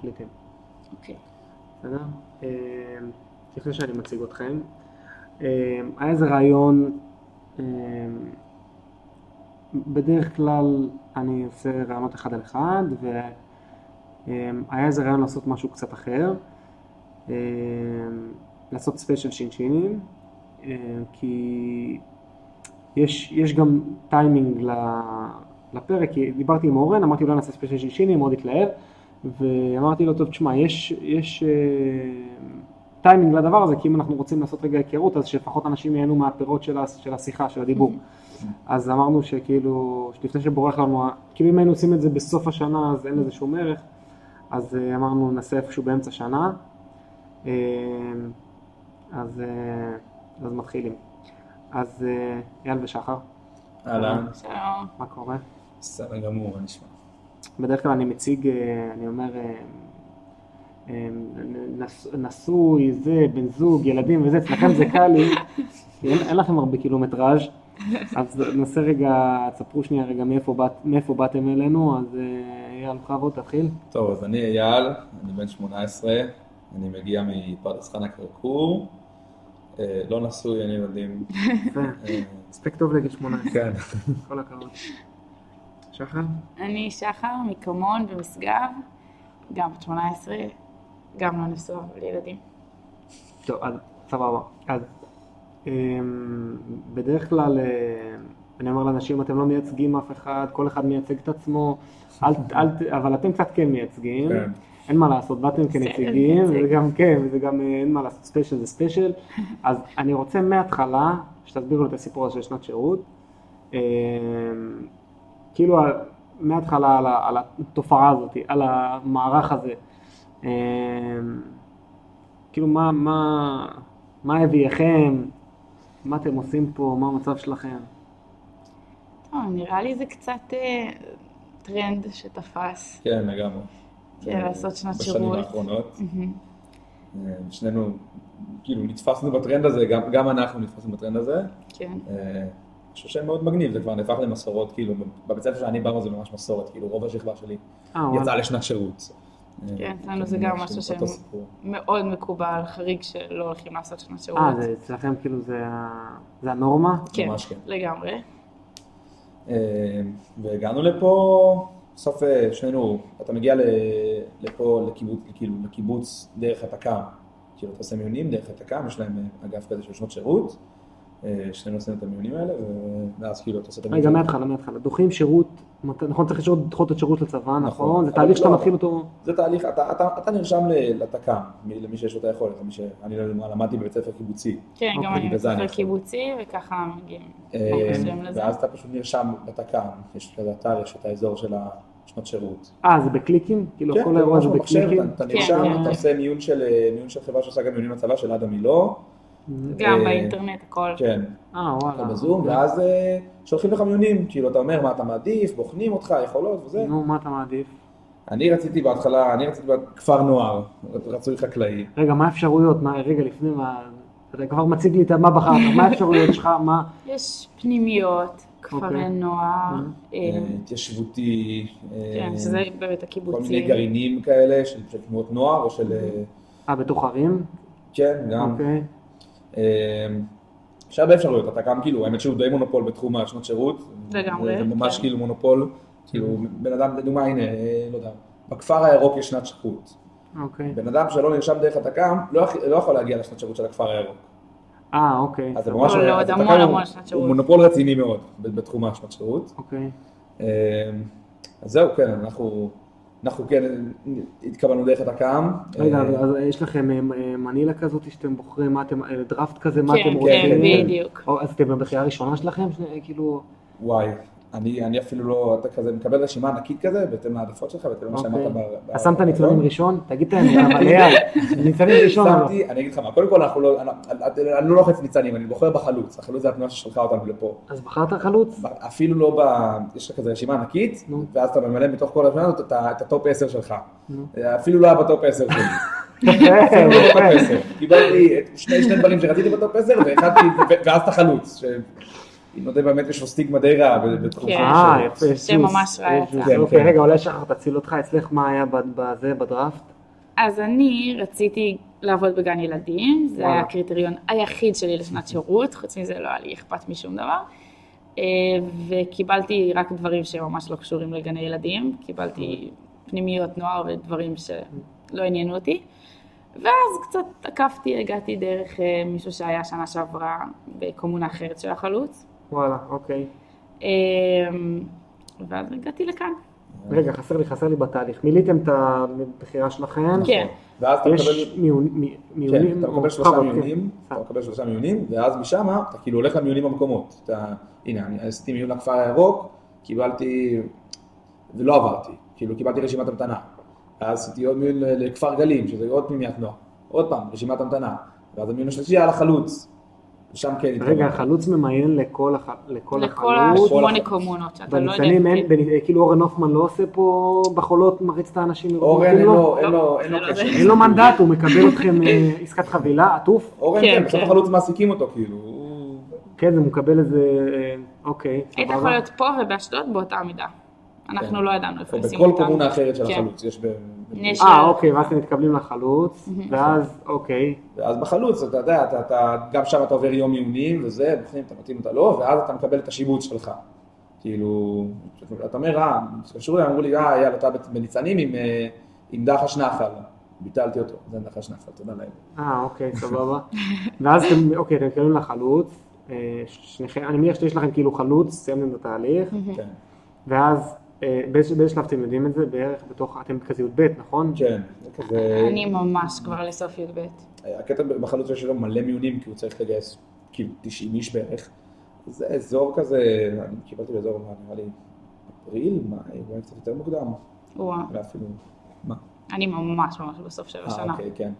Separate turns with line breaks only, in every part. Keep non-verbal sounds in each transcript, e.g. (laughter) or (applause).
פליטים.
אוקיי.
בסדר? אה, לפני שאני מציג אתכם, אה, היה איזה רעיון, אה, בדרך כלל אני עושה רעיונות אחד על אחד, והיה איזה רעיון לעשות משהו קצת אחר, אה, לעשות ספיישל שינשינים, אה, כי יש, יש גם טיימינג ל- לפרק, כי דיברתי עם אורן, אמרתי לו נעשה ספיישל שינשינים, מאוד התלהב, ואמרתי לו, טוב, תשמע, יש, יש אה, טיימינג לדבר הזה, כי אם אנחנו רוצים לעשות רגע היכרות, אז שלפחות אנשים ייהנו מהפירות של, ה- של השיחה, של הדיבור. אז אמרנו שכאילו, לפני שבורח לנו, ה- כאילו אם היינו עושים את זה בסוף השנה, אז אין לזה שום ערך, אז אה, אמרנו, נעשה איפשהו באמצע שנה, אה, אז, אה, אז מתחילים. אז אה, אייל ושחר,
אהלן,
שלום.
מה קורה?
בסדר גמור, מה נשמע?
בדרך כלל אני מציג, אה, אני אומר, אה, אה, נס- נשוי, זה, בן זוג, ילדים וזה, אצלכם זה קל לי, (laughs) כי אין, אין לכם הרבה קילומטראז', אז נעשה רגע, תספרו שנייה רגע מאיפה, באת, מאיפה באתם אלינו, אז אה, אייל בכבוד, תתחיל.
טוב, אז אני אייל, אני בן 18, אני מגיע מפרדס חנה כרכור, אה, לא נשוי, אין ילדים.
יפה,
אה,
מספיק טוב לגיל 18,
כן.
כל הכבוד. שחר?
אני שחר מקמון במשגב, גם בת 18, גם לא נשואה אבל ילדים.
טוב, אז סבבה. אז אמ, בדרך כלל אמ, אני אומר לאנשים, אתם לא מייצגים אף אחד, כל אחד מייצג את עצמו, אל, ת- אל, ת- אבל אתם קצת כן מייצגים,
כן.
אין מה לעשות, באתם
בסדר,
כנציגים,
מייצג.
כן, וזה גם כן, וזה גם אה, אין מה לעשות, ספיישל זה ספיישל, אז אני רוצה מההתחלה, שתסבירו לי את הסיפור הזה של שנת שירות, אמ, כאילו ה- מההתחלה על, ה- על התופעה הזאת, על המערך הזה. אמ, כאילו מה, מה, מה הביאכם, מה אתם עושים פה, מה המצב שלכם.
טוב, נראה לי זה קצת אה, טרנד שתפס.
כן, לגמרי. אה,
כן, לעשות שנת
בשנים
שירות.
האחרונות.
מהמם.
אה, שנינו, כאילו, נתפסנו בטרנד הזה, גם- גם אנחנו נתפסנו בטרנד הזה.
כן.
אה, אני חושב שמאוד מגניב, זה כבר נהפך למסורות, כאילו, בבית ספר שאני בא בו זה ממש מסורת, כאילו, רוב השכבה שלי
אה, וואלה.
יצאה לשנת שירות. אה,
כן, אצלנו זה
אני
גם
מניח
משהו
שזה אותו
שהם-
סיפור.
מאוד מקובל, חריג שלא הולכים לעשות שנת שירות.
אה, זה אצלכם כאילו זה, ה- זה הנורמה?
כן,
ממש כן.
לגמרי.
אה, והגענו לפה, בסוף אה, שנינו, אתה מגיע ל- לפה לקיבוץ, כאילו לקיבוץ דרך התק"ם, כאילו אתה עושה מיונים דרך התק"ם, יש להם אה, אגף כזה של שנות שירות, אה, שנינו עושים את המיונים האלה, ו- ואז כאילו אתה עושה את
רגע,
המיונים.
מההתחלה, מההתחלה. דוחים שירות, מת- נכון, צריך לשאול לדחות את שירות לצבא, נכון?
נכון.
זה תהליך שאתה
לא.
מתחיל אותו...
זה תהליך, אתה, אתה, אתה נרשם ל- לתק"ם, מי- למי שיש לו את היכולת, למי ש... אני לא יודע מה, למדתי בבית ספר קיבוצי.
כן,
אוקיי,
גם אני
בגלל זה אני
מספר
יכול.
קיבוצי, וככה מגיעים.
אה,
ברוך השם לזה.
ואז אתה פשוט נרשם לתק"ם, יש כזה אתר, יש את האזור של השנות שירות.
אה, זה בקליקים? כאילו,
כן,
כל האירוע
ממש
זה
במחשב,
בקליקים?
אתה- אתה
כן,
נרשם,
כן.
אתה עושה מיון של אה, מיון של חברה שעושה גם מיונים לצבא של אדם מילוא,
גם
אה,
באינטרנט הכל.
כן,
אה,
אתה
וואלה.
בזום, ואז אה, שולחים לך מיונים, כאילו אתה אומר מה אתה מעדיף, בוחנים אותך, יכולות וזה.
נו, מה אתה מעדיף?
אני רציתי בהתחלה, אני רציתי בכפר נוער, רצוי חקלאי.
רגע, מה האפשרויות? מה- רגע, לפני מה... אתה כבר מציג לי את מה
(laughs)
בחרת, מה האפשרויות שלך, מה...
יש פנימיות, כפרי
אוקיי.
נוער,
כן.
אה,
אה,
התיישבותי, אה,
כן, שזה באמת
כל מיני
הקיבוצים.
גרעינים כאלה של של תנועות נוער או של... אה,
אה, בתוך ערים?
כן, גם.
אוקיי.
אה, יש הרבה אפשרויות, אתה גם כאילו, האמת שהוא די מונופול בתחום השנות שירות.
לגמרי,
זה ממש
כן.
כאילו מונופול, כאילו בן אדם, לדוגמה, הנה, אה, לא יודע, בכפר הירוק יש שנת שירות.
אוקיי.
בן אדם שלא נרשם דרך התק"ם, לא, יכ- לא יכול להגיע לשנת שירות של הכפר הירוק.
אה, אוקיי.
אז זה
סבבה.
ממש...
לא,
אז
עוד
התק"ם
המון
הוא-
המון שנת שירות.
הוא מונופול רציני מאוד ב- בתחום השנת שירות.
אוקיי.
אה, אז זהו, כן, אנחנו... אנחנו כן התקבלנו דרך התק"ם.
רגע,
אה,
אז יש לכם אה, אה, מנילה כזאת שאתם בוחרים, מה אתם, אה, דראפט כזה, מה אתם
כן,
רוצים?
כן, בדיוק.
או, אז אתם בבחירה הראשונה שלכם? ש- כאילו,
וואי, אני אני אפילו לא... אתה כזה מקבל רשימה ענקית כזה, בהתאם להעדפות שלך, בהתאם למה
אוקיי.
שאמרת. ב- ב-
אז שמת ניצולים
בעלון.
ראשון? תגיד את האמת, אבל אייל, ניצולים ראשון או לא?
שמתי, אני אגיד לך מה, קודם כל אנחנו לא, אני- אני לא לוחץ ניצנים, אני בוחר בחלוץ, החלוץ זה התנועה ששלחה אותנו לפה.
אז בחרת חלוץ?
אפילו לא ב... יש לך כזה רשימה ענקית,
נו.
ואז אתה ממלא מתוך כל הזמן הזאת את ה- את הטופ 10 שלך.
נו.
אפילו לא היה בטופ 10
(laughs)
שלי.
יפה,
אפילו לא בטופ
יפה.
10. קיבלתי את שני שני דברים שרציתי בטופ 10, ואחד, ו- ואז את החלוץ. שאני לא יודע באמת, יש לו סטיגמה די רעה ב- בתחום
כן.
של
אה,
השאלות.
יפה,
זה ממש רעיון.
יש זוז.
כן,
אוקיי,
כן.
רגע, אולי שחר תציל אותך, אצלך מה היה ב- בזה, בדראפט?
אז אני רציתי לעבוד בגן ילדים, זה היה
וואלה.
הקריטריון היחיד שלי לשנת שירות, חוץ מזה לא היה לי אכפת משום דבר. אה, וקיבלתי רק דברים שממש לא קשורים לגני ילדים, קיבלתי פנימיות נוער ודברים שלא עניינו אותי. ואז קצת עקפתי, הגעתי דרך אה, מישהו שהיה שנה שעברה בקומונה אחרת של החלוץ.
וואלה, אוקיי.
אה, ואז הגעתי לכאן.
רגע, חסר לי, חסר לי בתהליך. מילאתם את הבחירה שלכם?
כן.
ואז אתה
יש
מקבל...
מיון- מי- מיונים?
כן, אתה
או-
מקבל שלושה
אוקיי.
מיונים, אתה מקבל שלושה מיונים, ואז משם אתה כאילו הולך למיונים במקומות. אתה, הנה, אני עשיתי מיון לכפר הירוק, קיבלתי, ולא עברתי, כאילו קיבלתי רשימת המתנה. ואז עשיתי עוד מיון ל- לכפר גלים, שזה עוד פנימיית נוער. עוד פעם, רשימת המתנה. ואז המיון השלישי היה לחלוץ. ושם כן
רגע,
התקבלתי.
החלוץ ממיין לכל החלוץ?
לכל
החלוץ.
השמונה קומונות, שאתה לא יודע...
בניצנים
כן.
אין, בנ- כאילו אורן הופמן לא עושה פה בחולות, מריץ את האנשים.
אורן
נותנים
אין
לו-
לו, אין לו, אין לו
לא, זה
קשר.
לא
כאילו אין לו מנדט, הוא מקבל אתכם אה, עסקת חבילה, עטוף.
אורן
כן,
כן, בסוף
כן.
החלוץ מעסיקים אותו, כאילו. הוא-
כן, זה מקבל איזה, אה, אוקיי,
היית יכול להיות פה ובאשדוד באותה מידה. אנחנו
לא. כן.
לא ידענו איפה
או
לשים
בכל
אותם.
קומונה אחרת של
כן.
החלוץ, יש ב...
יש-
אה, אוקיי, ואז אתם מתקבלים לחלוץ, ואז, אוקיי,
ואז בחלוץ, אתה יודע, אתה, אתה, גם שם אתה עובר יום עיונים וזה, בוחנים, אתה מתאים אותה לא, ואז אתה מקבל את השיבוץ שלך. כאילו, אתה אומר, אה, התקשרו אליי, אמרו לי, אה, יאללה, אתה בניצנים עם, אה, עם דחש נחל. ביטלתי אותו, זה דחש נחל, תודה להם.
אה, אוקיי, סבבה. ואז אתם, אוקיי, אתם מתקבלים לחלוץ, אה, שניכם, אני מניח שיש לכם כאילו חלוץ, סיימתם את התהליך,
כן.
ואז אה, באיזה באיזה שלב אתם יודעים את זה? בערך בתוך, אתם כזה י"ב, נכון?
כן, זה כזה...
(laughs) אני ממש כבר לסוף י"ב.
הקטע בחלוץ יש לו מלא מיונים, כי הוא צריך לגייס כאילו 90 איש בערך. זה אזור כזה, אני קיבלתי באזור, מה, נראה לי, אפריל, מאי, אולי קצת יותר מוקדם,
וואו,
אולי אפילו, מה?
אני ממש ממש בסוף של
אה,
השנה.
אוקיי, כן.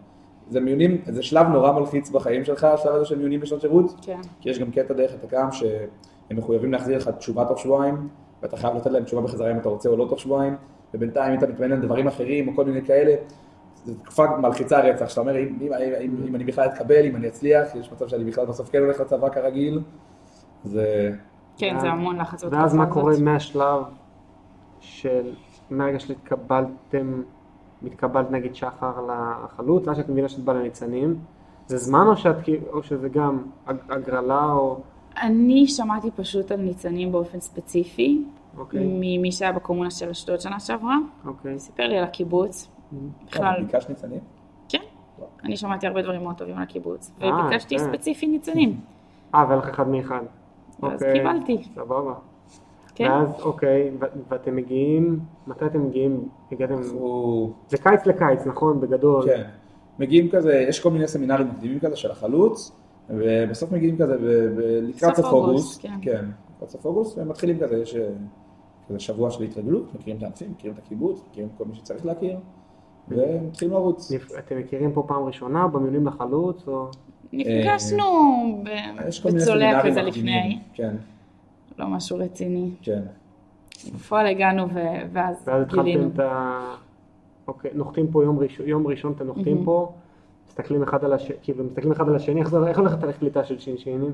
זה מיונים, זה שלב נורא מלחיץ בחיים שלך, השלב הזה של מיונים בשנות שירות,
כן.
כי יש גם קטע דרך התק"ם שהם מחויבים להחזיר לך תשובה תוך שבועיים, ואתה חייב לתת להם תשובה בחזרה אם אתה רוצה או לא תוך שבועיים, ובינתיים אם אתה מתמנה על דברים אחרים או כל מיני כאלה, זו תקופה מלחיצה רצח, שאתה אומר אם, אם, אם, אם אני בכלל אתקבל, אם אני אצליח, יש מצב שאני בכלל בסוף כן הולך לצבא כרגיל, זה...
כן, זה המון לחץ.
ואז
בתקופה
מה קורה
הזאת.
מהשלב של, מהרגע שהתקבלתם, מתקבלת נגיד שחר לחלוץ, עד שאת מבינה שאת באה לניצנים, זה זמן או שאת כאילו, או שזה גם הג- הגרלה או...
אני שמעתי פשוט על ניצנים באופן ספציפי,
אוקיי,
ממי שהיה בקומונה של אשדוד שנה שעברה.
אוקיי.
כן.
הוא סיפר לי על הקיבוץ.
Mm-hmm.
בכלל,
ביקש ניצנים? אוקיי.
כן. אני שמעתי הרבה דברים מאוד טובים על הקיבוץ.
אה,
וביקשתי
כן.
ספציפי ניצנים.
אה, והיה לך אחד מאחד.
ואז
אוקיי,
קיבלתי.
סבבה.
כן.
ואז, אוקיי, ו- ואתם מגיעים, מתי אתם מגיעים? הגעתם...
הוא...
זה קיץ לקיץ, נכון? בגדול.
כן. מגיעים כזה, יש כל מיני סמינרים מקדימים כזה של החלוץ, ובסוף מגיעים כזה ב- ב- לקראת
סוף
סוף
אוגוסט,
אוגוסט,
כן.
כן, לקראת סוף אוגוסט, והם מתחילים כזה, יש אה, כזה שבוע של התרגלות, מכירים את הענפים, מכירים את הקיבוץ, מכירים כל מי שצריך להכיר, ומתחילים לרוץ.
נפ- אתם מכירים פה פעם ראשונה, במיונים לחלוץ, או...
נפגשנו ב-
אה, יש כל מיני
בצולע
סמינרים
כזה לפני ההיא.
מקדימים, כן,
לא משהו רציני.
כן.
בפועל הגענו ו- ואז
ואז התחלתם
גילינו.
את ה... אוקיי, נוחתים פה יום ראשון, יום ראשון אתם נוחתים
מהמם.
פה, מסתכלים אחד על השני, כאילו מסתכלים אחד על השני, איך זה- איך הולכת תהליך קליטה של שינשינים?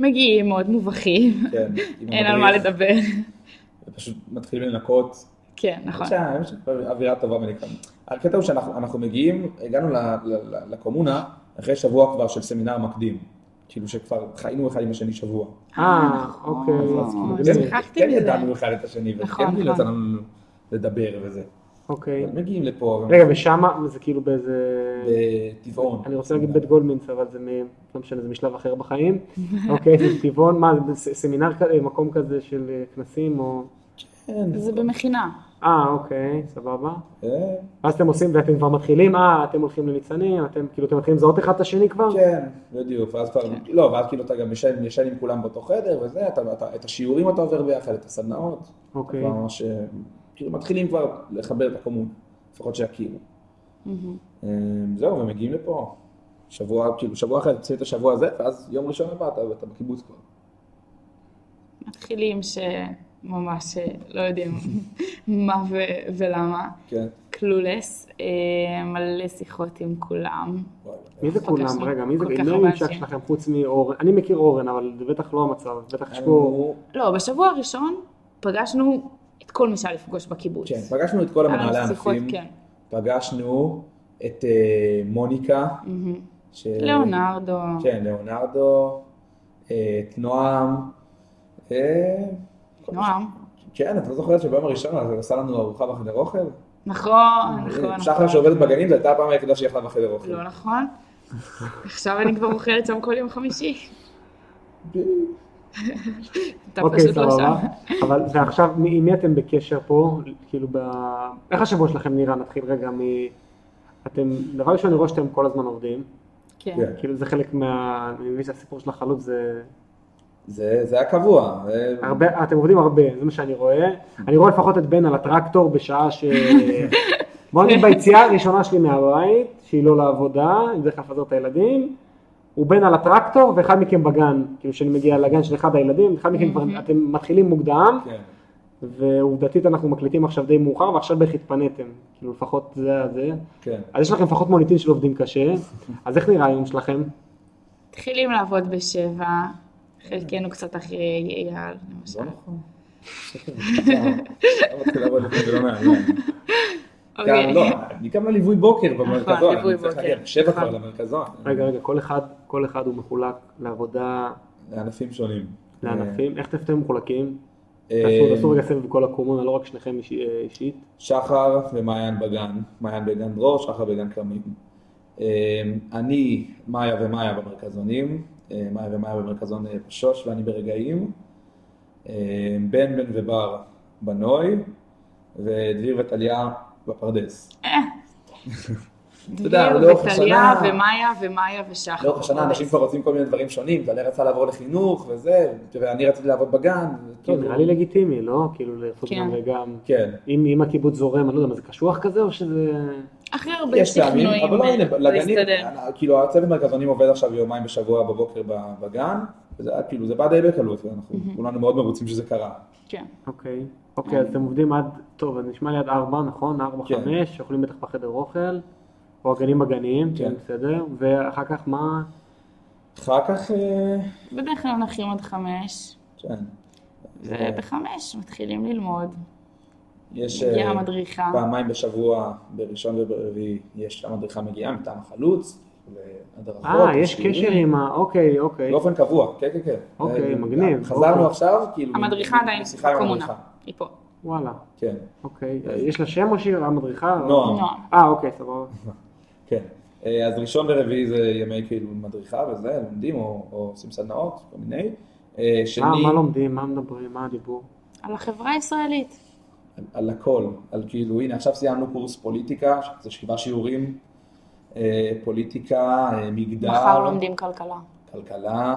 מגיעים מאוד מובכים,
כן, עם
(laughs) אין על מה
המדריך,
לדבר.
ופשוט מתחילים לנקות,
כן, נכון.
יש שם- יש שם אווירה טובה בנקרא. הקטע הוא שאנחנו אנחנו מגיעים, הגענו ל- ל- ל- לקומונה אחרי שבוע כבר של סמינר מקדים. כאילו שכבר חיינו אחד עם השני שבוע.
אה,
נכון.
אוקיי.
אז כאילו,
מגניב.
כן-
שכחתי
כן
מזה.
ידענו אחד את השני,
נכון,
וכן כאילו
נכון.
יצא לנו לדבר וזה.
אוקיי.
אבל מגיעים לפה,
רגע, ושמה זה כאילו באיזה...
בטבעון.
אני רוצה להגיד בית גולדמינץ, אבל זה מ... לא משנה, זה משלב אחר בחיים. אוקיי, זה טבעון, מה, זה ס- סמינר כזה, מקום כזה של אה, כנסים או...
כן,
זה במכינה.
אה, אוקיי, סבבה.
אה,
ואז אתם עושים, ואתם כבר מתחילים, אה, אתם הולכים לניצנים, אתם כאילו, אתם מתחילים לזהות אחד את השני כבר?
כן, בדיוק, ואז כבר,
כן.
לא, ואז כאילו אתה גם ישן ישן עם כולם באותו חדר וזה, אתה- אתה- את השיעורים אתה עובר ביחד, את הסדנאות.
אוקיי.
כבר ממש, אה, כאילו מתחילים כבר לחבר את הקומונה, לפחות שיכירו.
מהמם.
אה, זהו, ומגיעים לפה. שבוע, כאילו, שבוע אחרי, תוציא את השבוע הזה, ואז יום ראשון הבא אתה אתה בקיבוץ כבר.
מתחילים שממש אה, לא יודעים (laughs) מה ו- ולמה.
כן.
קלולס, אה, מלא שיחות עם כולם.
וואי,
מי זה כולם?
פגשנו
רגע, מי זה?
כל כך
מי
הרבה
הממשק
אנשים.
שלכם חוץ מאורן? אני מכיר אורן, אבל זה בטח לא המצב, בטח יש פה...
אנחנו-
לא, בשבוע הראשון פגשנו את כל מי שהיה לפגוש בקיבוץ.
כן, פגשנו את כל
היה לנו
המנהלי
אה, שיחות,
הענפים.
כן.
פגשנו את אה, מוניקה,
מהמם.
ש...
ליאונרדו,
אה, כן, ליאונרדו, אה, את נועם. אה,
נועם.
כן, את לא זוכרת שביום הראשון אז עשה לנו ארוחה בחדר אוכל? אה,
נכון, נכון,
שחר
נכון.
שעובדת בגנים, זו הייתה הפעם היחידה שהיא אכלה בחדר אוכל.
לא נכון. עכשיו אני כבר אוכלת שם כל יום חמישי. אתה
אוקיי,
פשוט לא
סבבה.
שם.
אבל ועכשיו, מי- עם מי אתם בקשר פה? כאילו, ב... איך השבוע שלכם נראה? נתחיל רגע מ... אתם, דבר ראשון, אני רואה שאתם כל הזמן עובדים.
כן.
כן.
כאילו, זה חלק מה... אני מבין שהסיפור של החלוץ זה...
זה זה היה קבוע. אה, זה-
הרבה, אתם עובדים הרבה, זה מה שאני רואה. אני רואה לפחות את בן על הטרקטור בשעה ש... בוא נגיד ביציאה הראשונה שלי מהבית, שהיא לא לעבודה, אני בדרך כלל לפזר את הילדים. הוא בן על הטרקטור ואחד מכם בגן, כאילו שאני מגיע לגן של אחד הילדים, אחד מכם כבר, אתם מתחילים מוקדם,
כן.
ועובדתית אנחנו מקליטים עכשיו די מאוחר, ועכשיו בערך התפניתם, כאילו לפחות זה היה זה.
כן.
אז יש לכם לפחות מוניטין של עובדים קשה, אז איך נראה היום שלכם?
מתחילים לעבוד בשבע, חלקנו קצת אחרי אייל, למשל.
לא כן. נכון. לא מתחיל לעבוד לפני ולא מעניין. גם
אוקיי. נכון,
לא, אני גם לליווי בוקר במרכזון,
ליווי
אני צריך
בוקר.
להגיע בשבע כבר
נכון.
למרכזון.
רגע, רגע, כל אחד, כל אחד הוא מחולק לעבודה,
לענפים שונים.
לענפים, איך אתם מחולקים?
אה,
תעשו תעשו רגע סבב כל הקומונה, לא רק שניכם איש- אה, אישית.
שחר ומעיין בגן, מעיין בגן דרור, שחר בגן כרמים. אה, אני, מאיה ומאיה במרכזונים, אה, מאיה ומאיה במרכזון אה, בשוש ואני ברגעים. אה, בן, בן ובר בנוי, ודביר וטליה בפרדס. אתה יודע,
דביר
לאורך
וטליה
השנה-
ומאיה ומאיה ושחר.
לאורך השנה
אוקיי.
אנשים כבר רוצים כל מיני דברים שונים, טליה רצה לעבור לחינוך וזה, ואני רציתי לעבוד בגן.
כן,
וכאילו-
נראה לי לגיטימי, לא? כאילו לעשות
כן.
גם וגם.
כן.
אם אם הקיבוץ זורם, אני לא יודע, מה זה קשוח כזה או שזה...
אחרי הרבה
יש פעמים,
שכנועים, אה,
אבל לא, הנה,
זה
לגנים,
הסתדר.
כאילו הצוות מרכזונים עובד עכשיו יומיים בשבוע בבוקר ב- בגן, וזה היה- כאילו זה בא די בקלות, ואנחנו כולנו מאוד מרוצים שזה קרה.
כן.
אוקיי. אוקיי, אז אתם עובדים עד... טוב, אז נשמע לי עד ארבע, נכון? ארבע,
כן.
חמש, אוכלים בטח בחדר אוכל, או הגנים בגנים, כן,
כן.
בסדר. ואחר כך מה?
אחר כך, אה,
בדרך כלל נחים עד חמש,
כן, אה,
ובחמש מתחילים ללמוד.
יש אה,
מגיעה המדריכה.
פעמיים בשבוע, בראשון וברביעי, יש המדריכה מגיעה מטעם החלוץ, והדרכות.
אה, יש
ושיעורים.
קשר עם ה... אוקיי, אוקיי.
באופן קבוע, כן, כן, כן.
אוקיי,
אה,
מגניב, אוקיי.
חזרנו עכשיו, כאילו,
המדריכה עדיין
בשיחה עם
בקומונה.
המדריכה,
היא פה.
וואלה,
כן,
אוקיי. יש לה שם או שהיא המדריכה?
נועם.
נועם.
אה, אוקיי, סבבה.
כן. אה, אז ראשון ורביעי זה ימי כאילו מדריכה וזה, לומדים או, או עושים סדנאות, כל מיני. אה, שני,
מה לא- מה לומדים? מה מדברים? מה הדיבור?
על החברה הישראלית.
על, על הכל, על כאילו, הנה עכשיו סיימנו קורס פוליטיקה, זה שבעה שיעורים, אה, פוליטיקה, אה, מגדר,
מחר לומדים כלכלה.
כלכלה.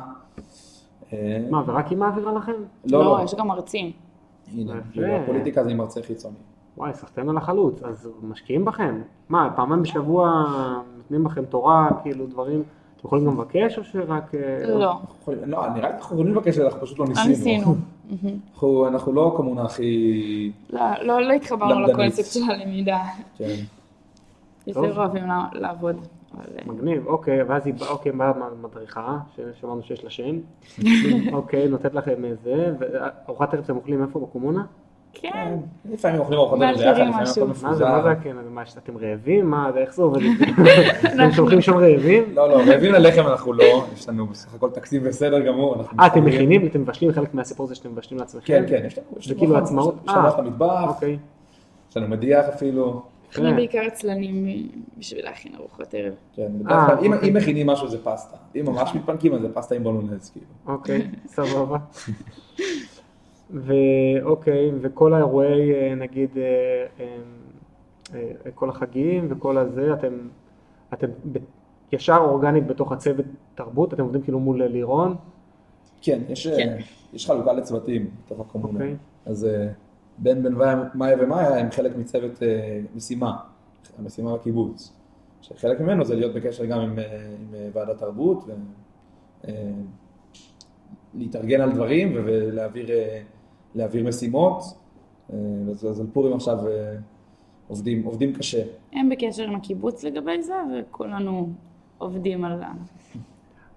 אה,
מה, ורק היא מעבירה לכם?
לא, לא,
יש גם מרצים.
הנה,
יפה.
כאילו, הפוליטיקה זה עם מרצה חיצוני.
וואי, סחטיין על החלוץ, אז משקיעים בכם. מה, פעמיים בשבוע נותנים בכם תורה, כאילו דברים, אתם יכולים גם לבקש או שרק... אה,
לא,
אנחנו יכולים- לא, נראה לי אנחנו יכולים לבקש, אנחנו פשוט לא
לא
ניסינו.
ניסינו. מהמם.
(laughs) אנחנו, אנחנו לא הקומונה הכי...
לא- לא לא התחברנו
למדנית.
לקונספט של הלמידה.
כן.
יותר אוהבים לע- לעבוד. אבל, אה,
מגניב, אוקיי, ואז היא באה, אוקיי, מה מה המדריכה, ששמענו שיש לה שם? אוקיי, נותנת לכם איזה, וארוחת ערב אתם אוכלים איפה? בקומונה?
כן,
לפעמים אוכלים ארוחת ערב
מאלתרים
ביחד, לפעמים
משהו.
הכל
מה זה, מה
מפוזר.
זה הקן הזה? מה, שאתם רעבים? מה, זה, איך זה עובד? אתם שולחים שם רעבים?
לא, לא, רעבים ללחם אנחנו לא, יש לנו בסך הכל תקציב בסדר גמור. אנחנו
אה, אתם
מסתדרים.
מכינים? אתם מבשלים חלק מהסיפור הזה שאתם מבשלים לעצמכם?
כן, כן, יש לנו... יש
זה
לנו
כאילו
אוכל,
עצמאות?
יש לנו
אה.
אוכל למטבח,
אוקיי.
יש לנו מדיח אפילו.
אנחנו
כן.
בעיקר עצלנים אה, בשביל להכין ארוחות ערב.
כן, בדרך
אה,
כלל, אם-
אוקיי.
אם מכינים משהו זה פסטה. אם ממש מתפנקים אז זה פסטה עם בולונז, כאילו.
אוקיי, סבבה. ואוקיי, וכל האירועי, אה, נגיד, אה, אה, אה, כל החגים וכל הזה, אתם, אתם ב- ישר אורגנית בתוך הצוות תרבות, אתם עובדים כאילו מול לירון,
כן, יש, אה,
כן.
יש חלוקה לצוותים בתוך הקומונה.
אוקיי.
אז אה, בן בן ויה- מאיה ומאיה הם חלק מצוות אה, משימה, המשימה בקיבוץ. שחלק ממנו זה להיות בקשר גם עם, אה, עם אה, ועדת תרבות, ולהתארגן על דברים ו- ולהעביר אה, להעביר משימות. אה, אז אז על פורים עכשיו אה, עובדים, עובדים קשה.
הם בקשר עם הקיבוץ לגבי זה, וכולנו עובדים על ה...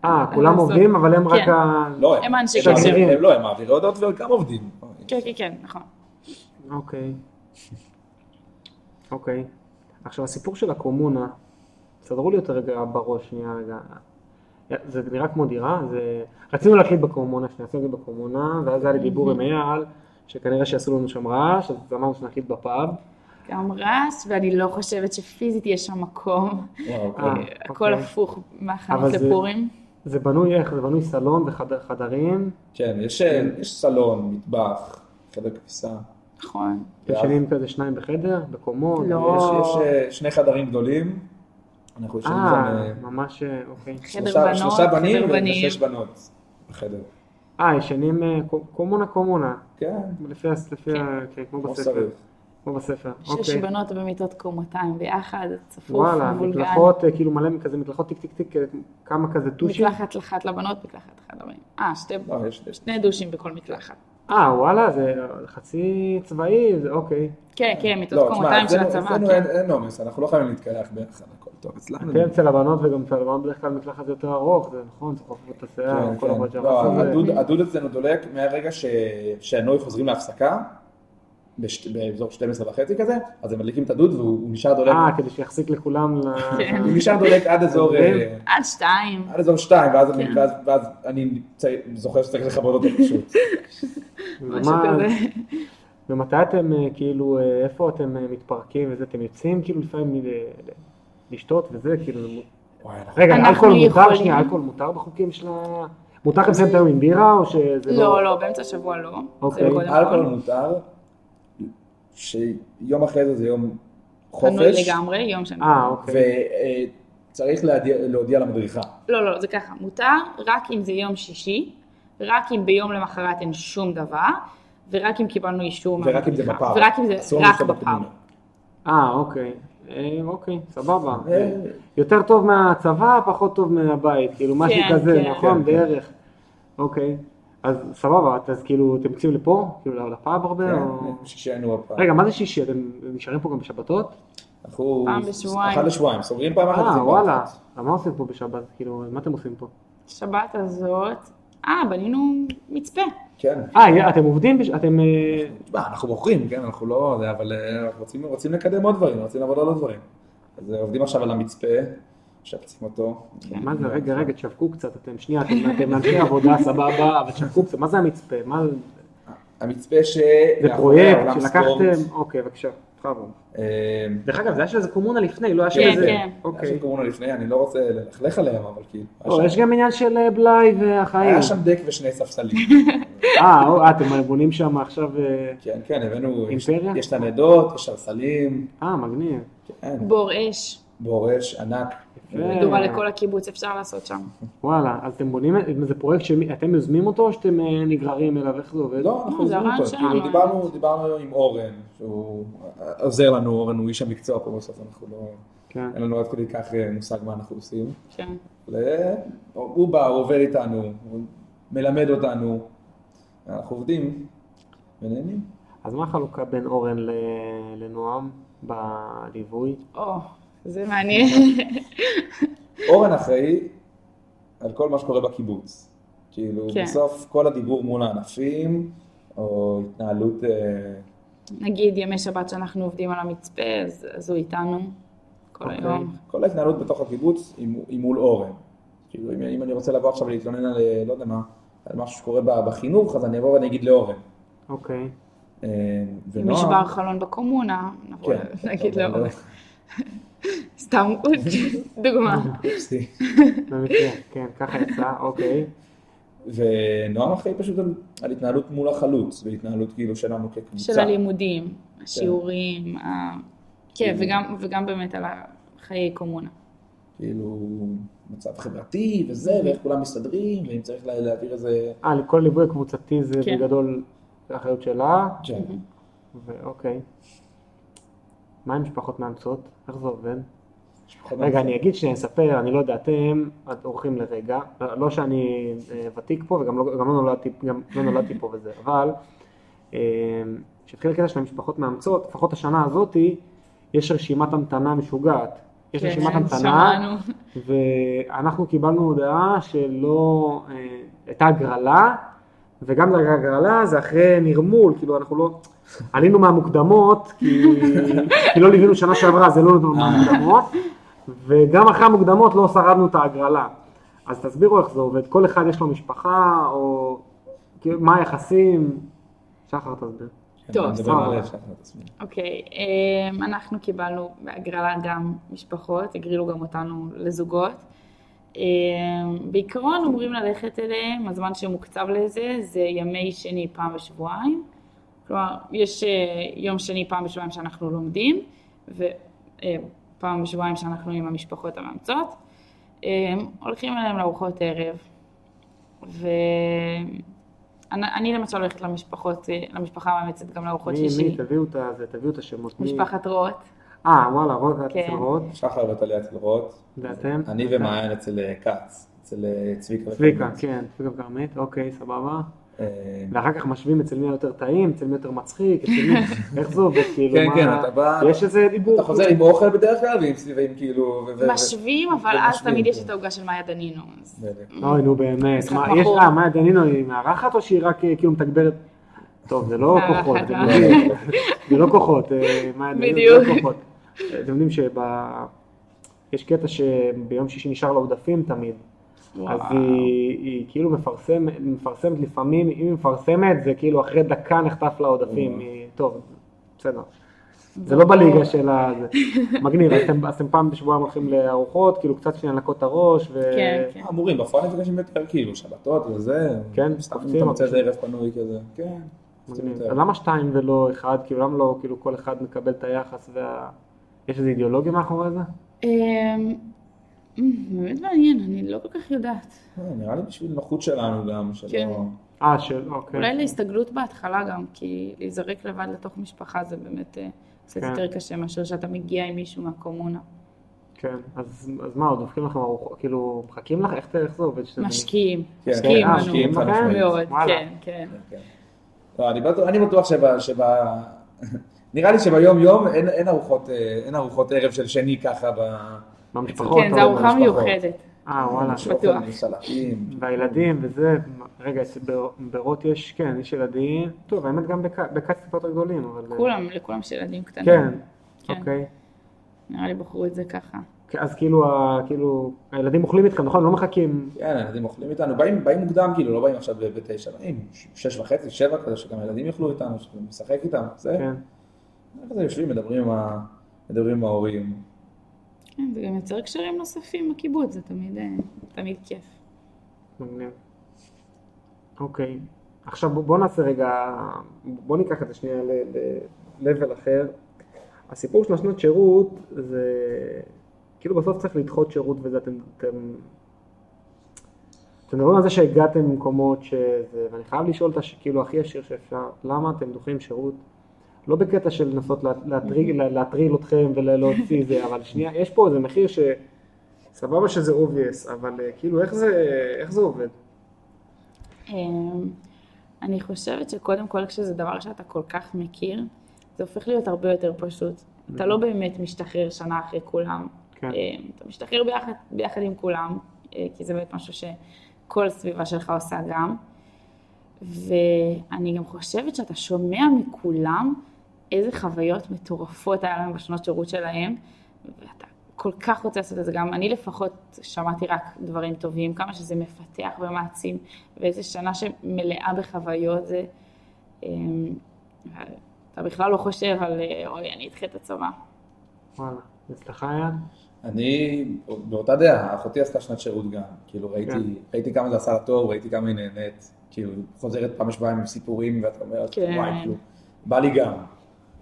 אה, כולם
לעשות.
עובדים, אבל הם רק
כן.
ה...
לא,
הם אנשי
קשר.
מעבירים- הם לא, הם מעבירי הודעות וגם עובדים.
כן, כן, כן, נכון.
אוקיי. אוקיי. עכשיו, הסיפור של הקומונה, סדרו לי אותה רגע בראש, שנייה רגע. זה נראה כמו דירה, זה... רצינו להקליט בקורמונה, שנעשה את זה בקורמונה, ואז היה לי דיבור עם אייל, שכנראה שיעשו לנו שם רעש, אז אמרנו שנקליט בפאב.
גם רעש, ואני לא חושבת שפיזית יש שם
(laughs)
מקום.
וואו,
אה,
אוקיי.
הכל
אוקיי.
הפוך
אבל
מהחנות
זה-
לפורים.
זה בנוי איך? זה בנוי סלון וחדרים,
כן, יש, אה, יש סלון, מטבח, חדר כביסה.
נכון.
ישנים כזה שניים בחדר, בקומות.
לא.
יש,
או.
יש אה, שני חדרים גדולים, אנחנו ישנים שם
אה,
אה,
ממש, אה, אוקיי.
חדר
שלושה-
בנות,
שלושה בנים
חדר בנים.
ושש בנות בחדר.
אה, ישנים אה, קו- קומונה קומונה,
כן,
לפי, הס- לפי,
כן.
ה- כן, כמו
כמו
בספר,
שצריך.
כמו בספר,
שש
אוקיי.
בנות במיטות קומתיים ביחד, צפוף,
וואלה,
מבולגן.
מקלחות, אה, כאילו מלא כזה מקלחות טיק טיק טיק, כזה, כמה כזה טושים.
מקלחת אחת לבנות, מקלחת אחת לבנים. אה, שתי...
לא, יש, יש
שני דושים בכל מקלחת.
אה, וואלה, זה חצי צבאי, זה אוקיי.
כן, כן, מיטות
לא, תשמע,
קומתיים של
אצלנו-
הצבא,
אצלנו
כן.
אין- אין עומס, אנחנו לא חייבים להתקלח ביחד, הכל טוב, אצלנו.
כן, אצל הבנות וגם אצל הבנות בדרך כלל מקלחת זה יותר ארוך, זה נכון, זה חופפות את השיער,
כן,
כל אה, הבנות
כן. לא,
זה.
הדוד- הדוד אצלנו דולק מהרגע ש- שהנוי חוזרים להפסקה, בש- באזור 12 וחצי כזה, אז הם מדליקים את הדוד והוא הוא נשאר דולק,
אה, כדי שיחזיק לכולם ל...
(laughs)
כן.
הוא נשאר דולק עד אזור... אה,
עד שתיים.
עד אזור שתיים, ואז אני-
כן.
ואז- ואז אני צי- זוכר שצריך לכבות אותו פשוט.
(laughs) משהו
ומה-
כזה.
ומתי אתם, אה, כאילו, אה, איפה אתם אה, מתפרקים וזה, אתם יוצאים כאילו לפעמים ל- ל- לשתות וזה, כאילו... זה מ-
וואי, אנחנו-
רגע,
אנחנו
אלכוהול מותר?
יכולים-
שנייה, אלכוהול מותר בחוקים של ה... מותר לכם לסיים את היום עם בירה או שזה לא...
לא, לא, באמצע השבוע לא.
אוקיי.
זה קודם כל.
אלכוהול מותר, שיום אחרי זה זה יום
פנוי
חופש,
לגמרי, יום שני.
אה, אוקיי.
וצריך להודיע למדריכה.
לא, לא, זה ככה, מותר רק אם זה יום שישי, רק אם ביום למחרת אין שום דבר, ורק אם קיבלנו אישור
ורק אם זה
מהמדריכה.
בפאב.
ורק אם זה
אסור לנו
רק
לשתות
בפאב.
בקומונה.
אה, אוקיי. אה, אוקיי, סבבה.
אה,
יותר טוב מהצבא, פחות טוב מהבית, כאילו משהו
כן,
כזה,
כן.
נכון?
כן, כן.
בערך. אוקיי. אז סבבה, אז כאילו אתם יוצאים לפה? כאילו לפאב הרבה?
לא.
או-
כן, שישנו הפעם.
רגע, מה זה שישי? אתם נשארים פה גם בשבתות?
אה, אנחנו
פעם בשבועיים.
אחת לשבועיים, סוגרים פעם אחת.
אה,
יוצאים פעם
וואלה.
אחת.
אז מה עושים פה בשבת? כאילו, מה אתם עושים פה?
שבת הזאת, אה, בנינו מצפה.
כן.
אה, יא, אתם עובדים? בש- אתם... אה,
תשמע, אנחנו בוחרים, כן, אנחנו לא, זה, אבל אה, אנחנו רוצים- רוצים לקדם עוד דברים, רוצים לעבוד על עוד דברים. אז אה, עובדים עכשיו על המצפה, משפצים אותו.
כן.
מה זה, רגע, רגע, תשווקו קצת, אתם שנייה, אתם- אתם אנשי עבודה, סבבה, אבל תשווקו קצת, מה זה המצפה? מה...
המצפה ש...
זה פרויקט שלקחתם? אוקיי, בבקשה, בכבוד.
אה,
דרך אגב, זה היה של איזה קומונה לפני, לא היה של
כן,
איזה...
כן.
היה
אוקיי.
שם קורונה לפני, אני לא רוצה ללכלך עליהם, אבל כאילו... היה
או,
שם-
יש גם עניין של אה, בלאי והחיים.
היה שם דק
(laughs)
ושני ספסלים.
אה, או, אה, אתם בונים שם עכשיו... אה,
כן, כן, הבאנו... יש-
אימפריה?
יש תנדות, יש סרסלים,
אה, מגניב.
כן,
בור אש,
בורש ענק.
יפה.
מדורה
אה.
לכל הקיבוץ, אפשר לעשות שם.
אוקיי.
וואלה, אז אתם בונים, אה, זה פרויקט שאתם יוזמים אותו או שאתם אה, נגררים אליו? איך זה עובד?
לא, אנחנו
אה, זה
עוזרים
הרעיון
אותו.
שלנו,
כאילו, דיברנו,
האמת.
דיברנו עם אורן, שהוא עוזר לנו, אורן הוא איש המקצוע פה בסוף, אנחנו לא...
כן.
אין לנו עד כדי כך אה, מושג מה אנחנו עושים.
כן.
ו- הוא בא, הוא עובד איתנו, הוא מלמד אותנו, אנחנו עובדים ונהנים.
אז מה החלוקה בין אורן ל- לנועם בליווי?
או, זה מעניין. (laughs)
אורן אחראי על כל מה שקורה בקיבוץ. כאילו,
כן.
בסוף כל הדיבור מול הענפים, או התנהלות... אה,
נגיד ימי שבת שאנחנו עובדים על המצפה, אז אז הוא איתנו כל
אוקיי.
היום.
כל ההתנהלות בתוך הקיבוץ היא מו- היא מול אורן. כאילו, אם, אם אני רוצה לבוא עכשיו ולהתלונן על, אה, לא יודע מה, על משהו שקורה ב- בחינוך, אז אני אבוא ואני אגיד לאורן.
אוקיי.
אה,
אם
ונועם-
נשבר חלון בקומונה, נבוא
כן.
(laughs) נגיד
לא,
לו,
(laughs)
סתם דוגמה.
אופסי.
במקרה, כן, ככה יצא, אוקיי.
ונועם אחראי פשוט על, על התנהלות מול החלוץ, והתנהלות כאילו שלנו כקבוצה.
של הלימודים, השיעורים, ה- כן, וגם- וגם באמת על חיי קומונה.
כאילו, מצב חברתי וזה, ואיך כולם מסתדרים, ואם צריך לה- להעביר איזה...
אה, לכל ליווי הקבוצתי זה
כן.
בגדול האחריות שלה,
כן.
ואוקיי. מה עם משפחות מאמצות? איך זה עובד?
משפחות
רגע, אני אגיד שנייה, אספר, אני לא יודע, אתם את- אורחים לרגע, לא לא שאני אה, ותיק פה וגם לא, גם לא, נולדתי, גם לא נולדתי פה וזה, אבל כשהתחיל הקטע של המשפחות מאמצות, לפחות השנה הזאתי, יש רשימת המתנה משוגעת. יש
כן,
רשימת המתנה,
שמענו.
ואנחנו קיבלנו הודעה שלא, אה, הייתה הגרלה, וגם להגרלה זה אחרי נרמול, כאילו אנחנו לא, עלינו לא מהמוקדמות, כי, כי לא ליווינו שנה שעברה, אז עלינו מהמוקדמות, וגם אחרי המוקדמות לא שרדנו את ההגרלה. אז תסבירו איך זה עובד, כל אחד יש לו משפחה, או כאילו, מה היחסים? שחר תסביר.
טוב,
נדבר על
סבבה.
הלב שלך, תסביר.
אוקיי, אמ, אנחנו קיבלנו בהגרלה גם משפחות, הגרילו גם אותנו לזוגות. אמ, בעיקרון אמורים ללכת אליהם, הזמן שמוקצב לזה זה ימי שני פעם בשבועיים. כלומר, יש אה, יום שני פעם בשבועיים שאנחנו לומדים, ופעם בשבועיים שאנחנו עם המשפחות המאמצות. אמ, הולכים אליהם לארוחות ערב, ואני אני למשל הולכת למשפחות, אה, למשפחה המאמצת גם לארוחות
מי,
שישי.
מי, תביאו את הזה, תביאו את השמות. מי-
משפחת רוט.
אה, וואלה, רוט, את
כן.
אצל רוט,
שחר וטליה אצל רוט,
ואתם?
אני ומעיין אצל אה, כץ, אצל אה, צביקה.
צביקה,
וכרמית.
כן, צביקה וכרמית, אוקיי, סבבה.
אה,
ואחר כך משווים אצל מי היותר טעים, אצל מי יותר מצחיק, אצל מי, איך זה עובד, כאילו,
כן,
מה...
כן, אתה בא,
יש איזה דיבור.
אתה חוזר עם אוכל בדרך כלל, ועם סביבים כאילו... ו- ו-
משווים, אבל אז
ומשווים,
תמיד יש
כן.
את העוגה של מאיה דנינו. אז-
בדיוק.
אוי, נו באמת.
משחק
מה, יש
מכור.
לה, מה, דנינו היא מארחת או שהיא רק אה, כאילו מתגברת? טוב, זה לא
מארחת, אה.
כוחות, אתם
מארחת.
יודעים. זה לא כוחות, אה, מה, דנינו זה לא
בדיוק.
כוחות. אה, אתם יודעים שב... יש קטע שביום שישי נשאר לה עודפים תמיד, אז
וואו.
היא, היא כאילו מפרסמת, מפרסמת לפעמים, אם היא מפרסמת זה כאילו אחרי דקה נחטף לה עודפים, היא- טוב, בסדר. זה לא בליגה של ה...
(laughs)
זה. מגניב, אז אתם- אז אתם פעם בשבועיים הולכים לארוחות, כאילו קצת שנייה לנקות את הראש, ו...
כן, כן.
אמורים, בפועל נפגשים יותר כאילו, שבתות וזה.
כן,
סתם אם
קופצים,
אתה מוצא איזה
קופצים.
ערב פנוי כזה. כן. קופצים
מגניב.
יותר.
אז למה שתיים ולא אחד? כאילו למה לא כאילו כל אחד מקבל את היחס וה... יש איזה אידיאולוגיה מאחורי זה?
אמ, אמ, באמת מעניין, אני לא כל כך יודעת.
אה, נראה לי בשביל נוחות שלנו גם, שלא...
כן.
אה, של...
כן.
אוקיי.
אולי לא. להסתגלות בהתחלה גם, כי להיזרק לבד לתוך משפחה זה באמת אה, קצת
כן.
יותר קשה מאשר שאתה מגיע עם מישהו מהקומונה.
כן. אז אז מה, עוד דופקים לכם ארוחות? כאילו, מחכים לך? איך איך זה עובד? שאתם-
משקיעים,
כן,
משקיעים
אה,
בנו
משקיעים
חד
בכם?
משמעית.
מאוד,
וואלה.
כן, כן.
כן, כן. לא, אני בטוח- אני בטוח שב... שב- (laughs) נראה לי שביום יום אין אין ארוחות, אה, אין ארוחות ערב של שני ככה ב... נכון,
במשפחות?
כן,
טוב,
זו ארוחה
במשפחות.
מיוחדת.
אה, וואלה.
יש אוכל
בטוח.
עם סלטים.
והילדים וזה, רגע, אצל בר- ברוט יש, כן, יש ילדים, טוב, האמת גם בק- בקץ טיפה יותר גדולים, אבל...
כולם, לכולם יש ילדים קטנים.
כן,
כן.
אוקיי.
נראה לי בחרו את זה ככה.
כן, אז כאילו, ה- כאילו, הילדים אוכלים איתכם, נכון? לא מחכים.
כן, הילדים אוכלים איתנו, באים, באים מוקדם, כאילו, לא באים עכשיו ב- בתשע, באים ש- שש וחצי, שבע כזה, שגם הילדים יאכלו איתנו, שנשחק איתם, זה.
כן.
כזה יושבים, מדברים עם, ה... מדברים עם ההורים.
כן, זה גם יוצר קשרים נוספים בקיבוץ, זה תמיד, אה, תמיד כיף.
מגניב. אוקיי. עכשיו בוא- בוא נעשה רגע, בוא ניקח את זה שנייה ל-level אחר. הסיפור של השנות שירות זה, כאילו בסוף צריך לדחות שירות וזה, אתם, אתם, אתם מדברים על זה שהגעתם למקומות שזה, ואני חייב לשאול את הש... כאילו הכי ישיר שאפשר, למה אתם דוחים שירות? לא בקטע של לנסות לה- להטריל, לה- להטריל אתכם ולהוציא זה, אבל שנייה, יש פה איזה מחיר ש... סבבה שזה obvious, אבל אה, כאילו איך זה, איך זה עובד?
אמ, אני חושבת שקודם כל כשזה דבר שאתה כל כך מכיר, זה הופך להיות הרבה יותר פשוט. אתה לא באמת משתחרר שנה אחרי כולם.
כן.
אמ, אתה משתחרר ביחד, ביחד עם כולם, אה, כי זה באמת משהו שכל הסביבה שלך עושה גם. ואני גם חושבת שאתה שומע מכולם איזה חוויות מטורפות היה להם בשנות שירות שלהם, ואתה כל כך רוצה לעשות את זה גם. אני לפחות שמעתי רק דברים טובים, כמה שזה מפתח ומעצים, ואיזה שנה שמלאה בחוויות זה. אמ, אתה בכלל לא חושב על, אה, אוי, אני אדחה את הצבא.
וואלה. אצלך היה?
אני באותה דעה, אחותי עשתה שנת שירות גם, כאילו
כן.
ראיתי, ראיתי כמה זה עשה לה טוב, ראיתי כמה היא נהנית, כאילו חוזרת פעם בשבועיים עם סיפורים ואתה אומר,
כן.
וואי, כאילו, בא לי גם.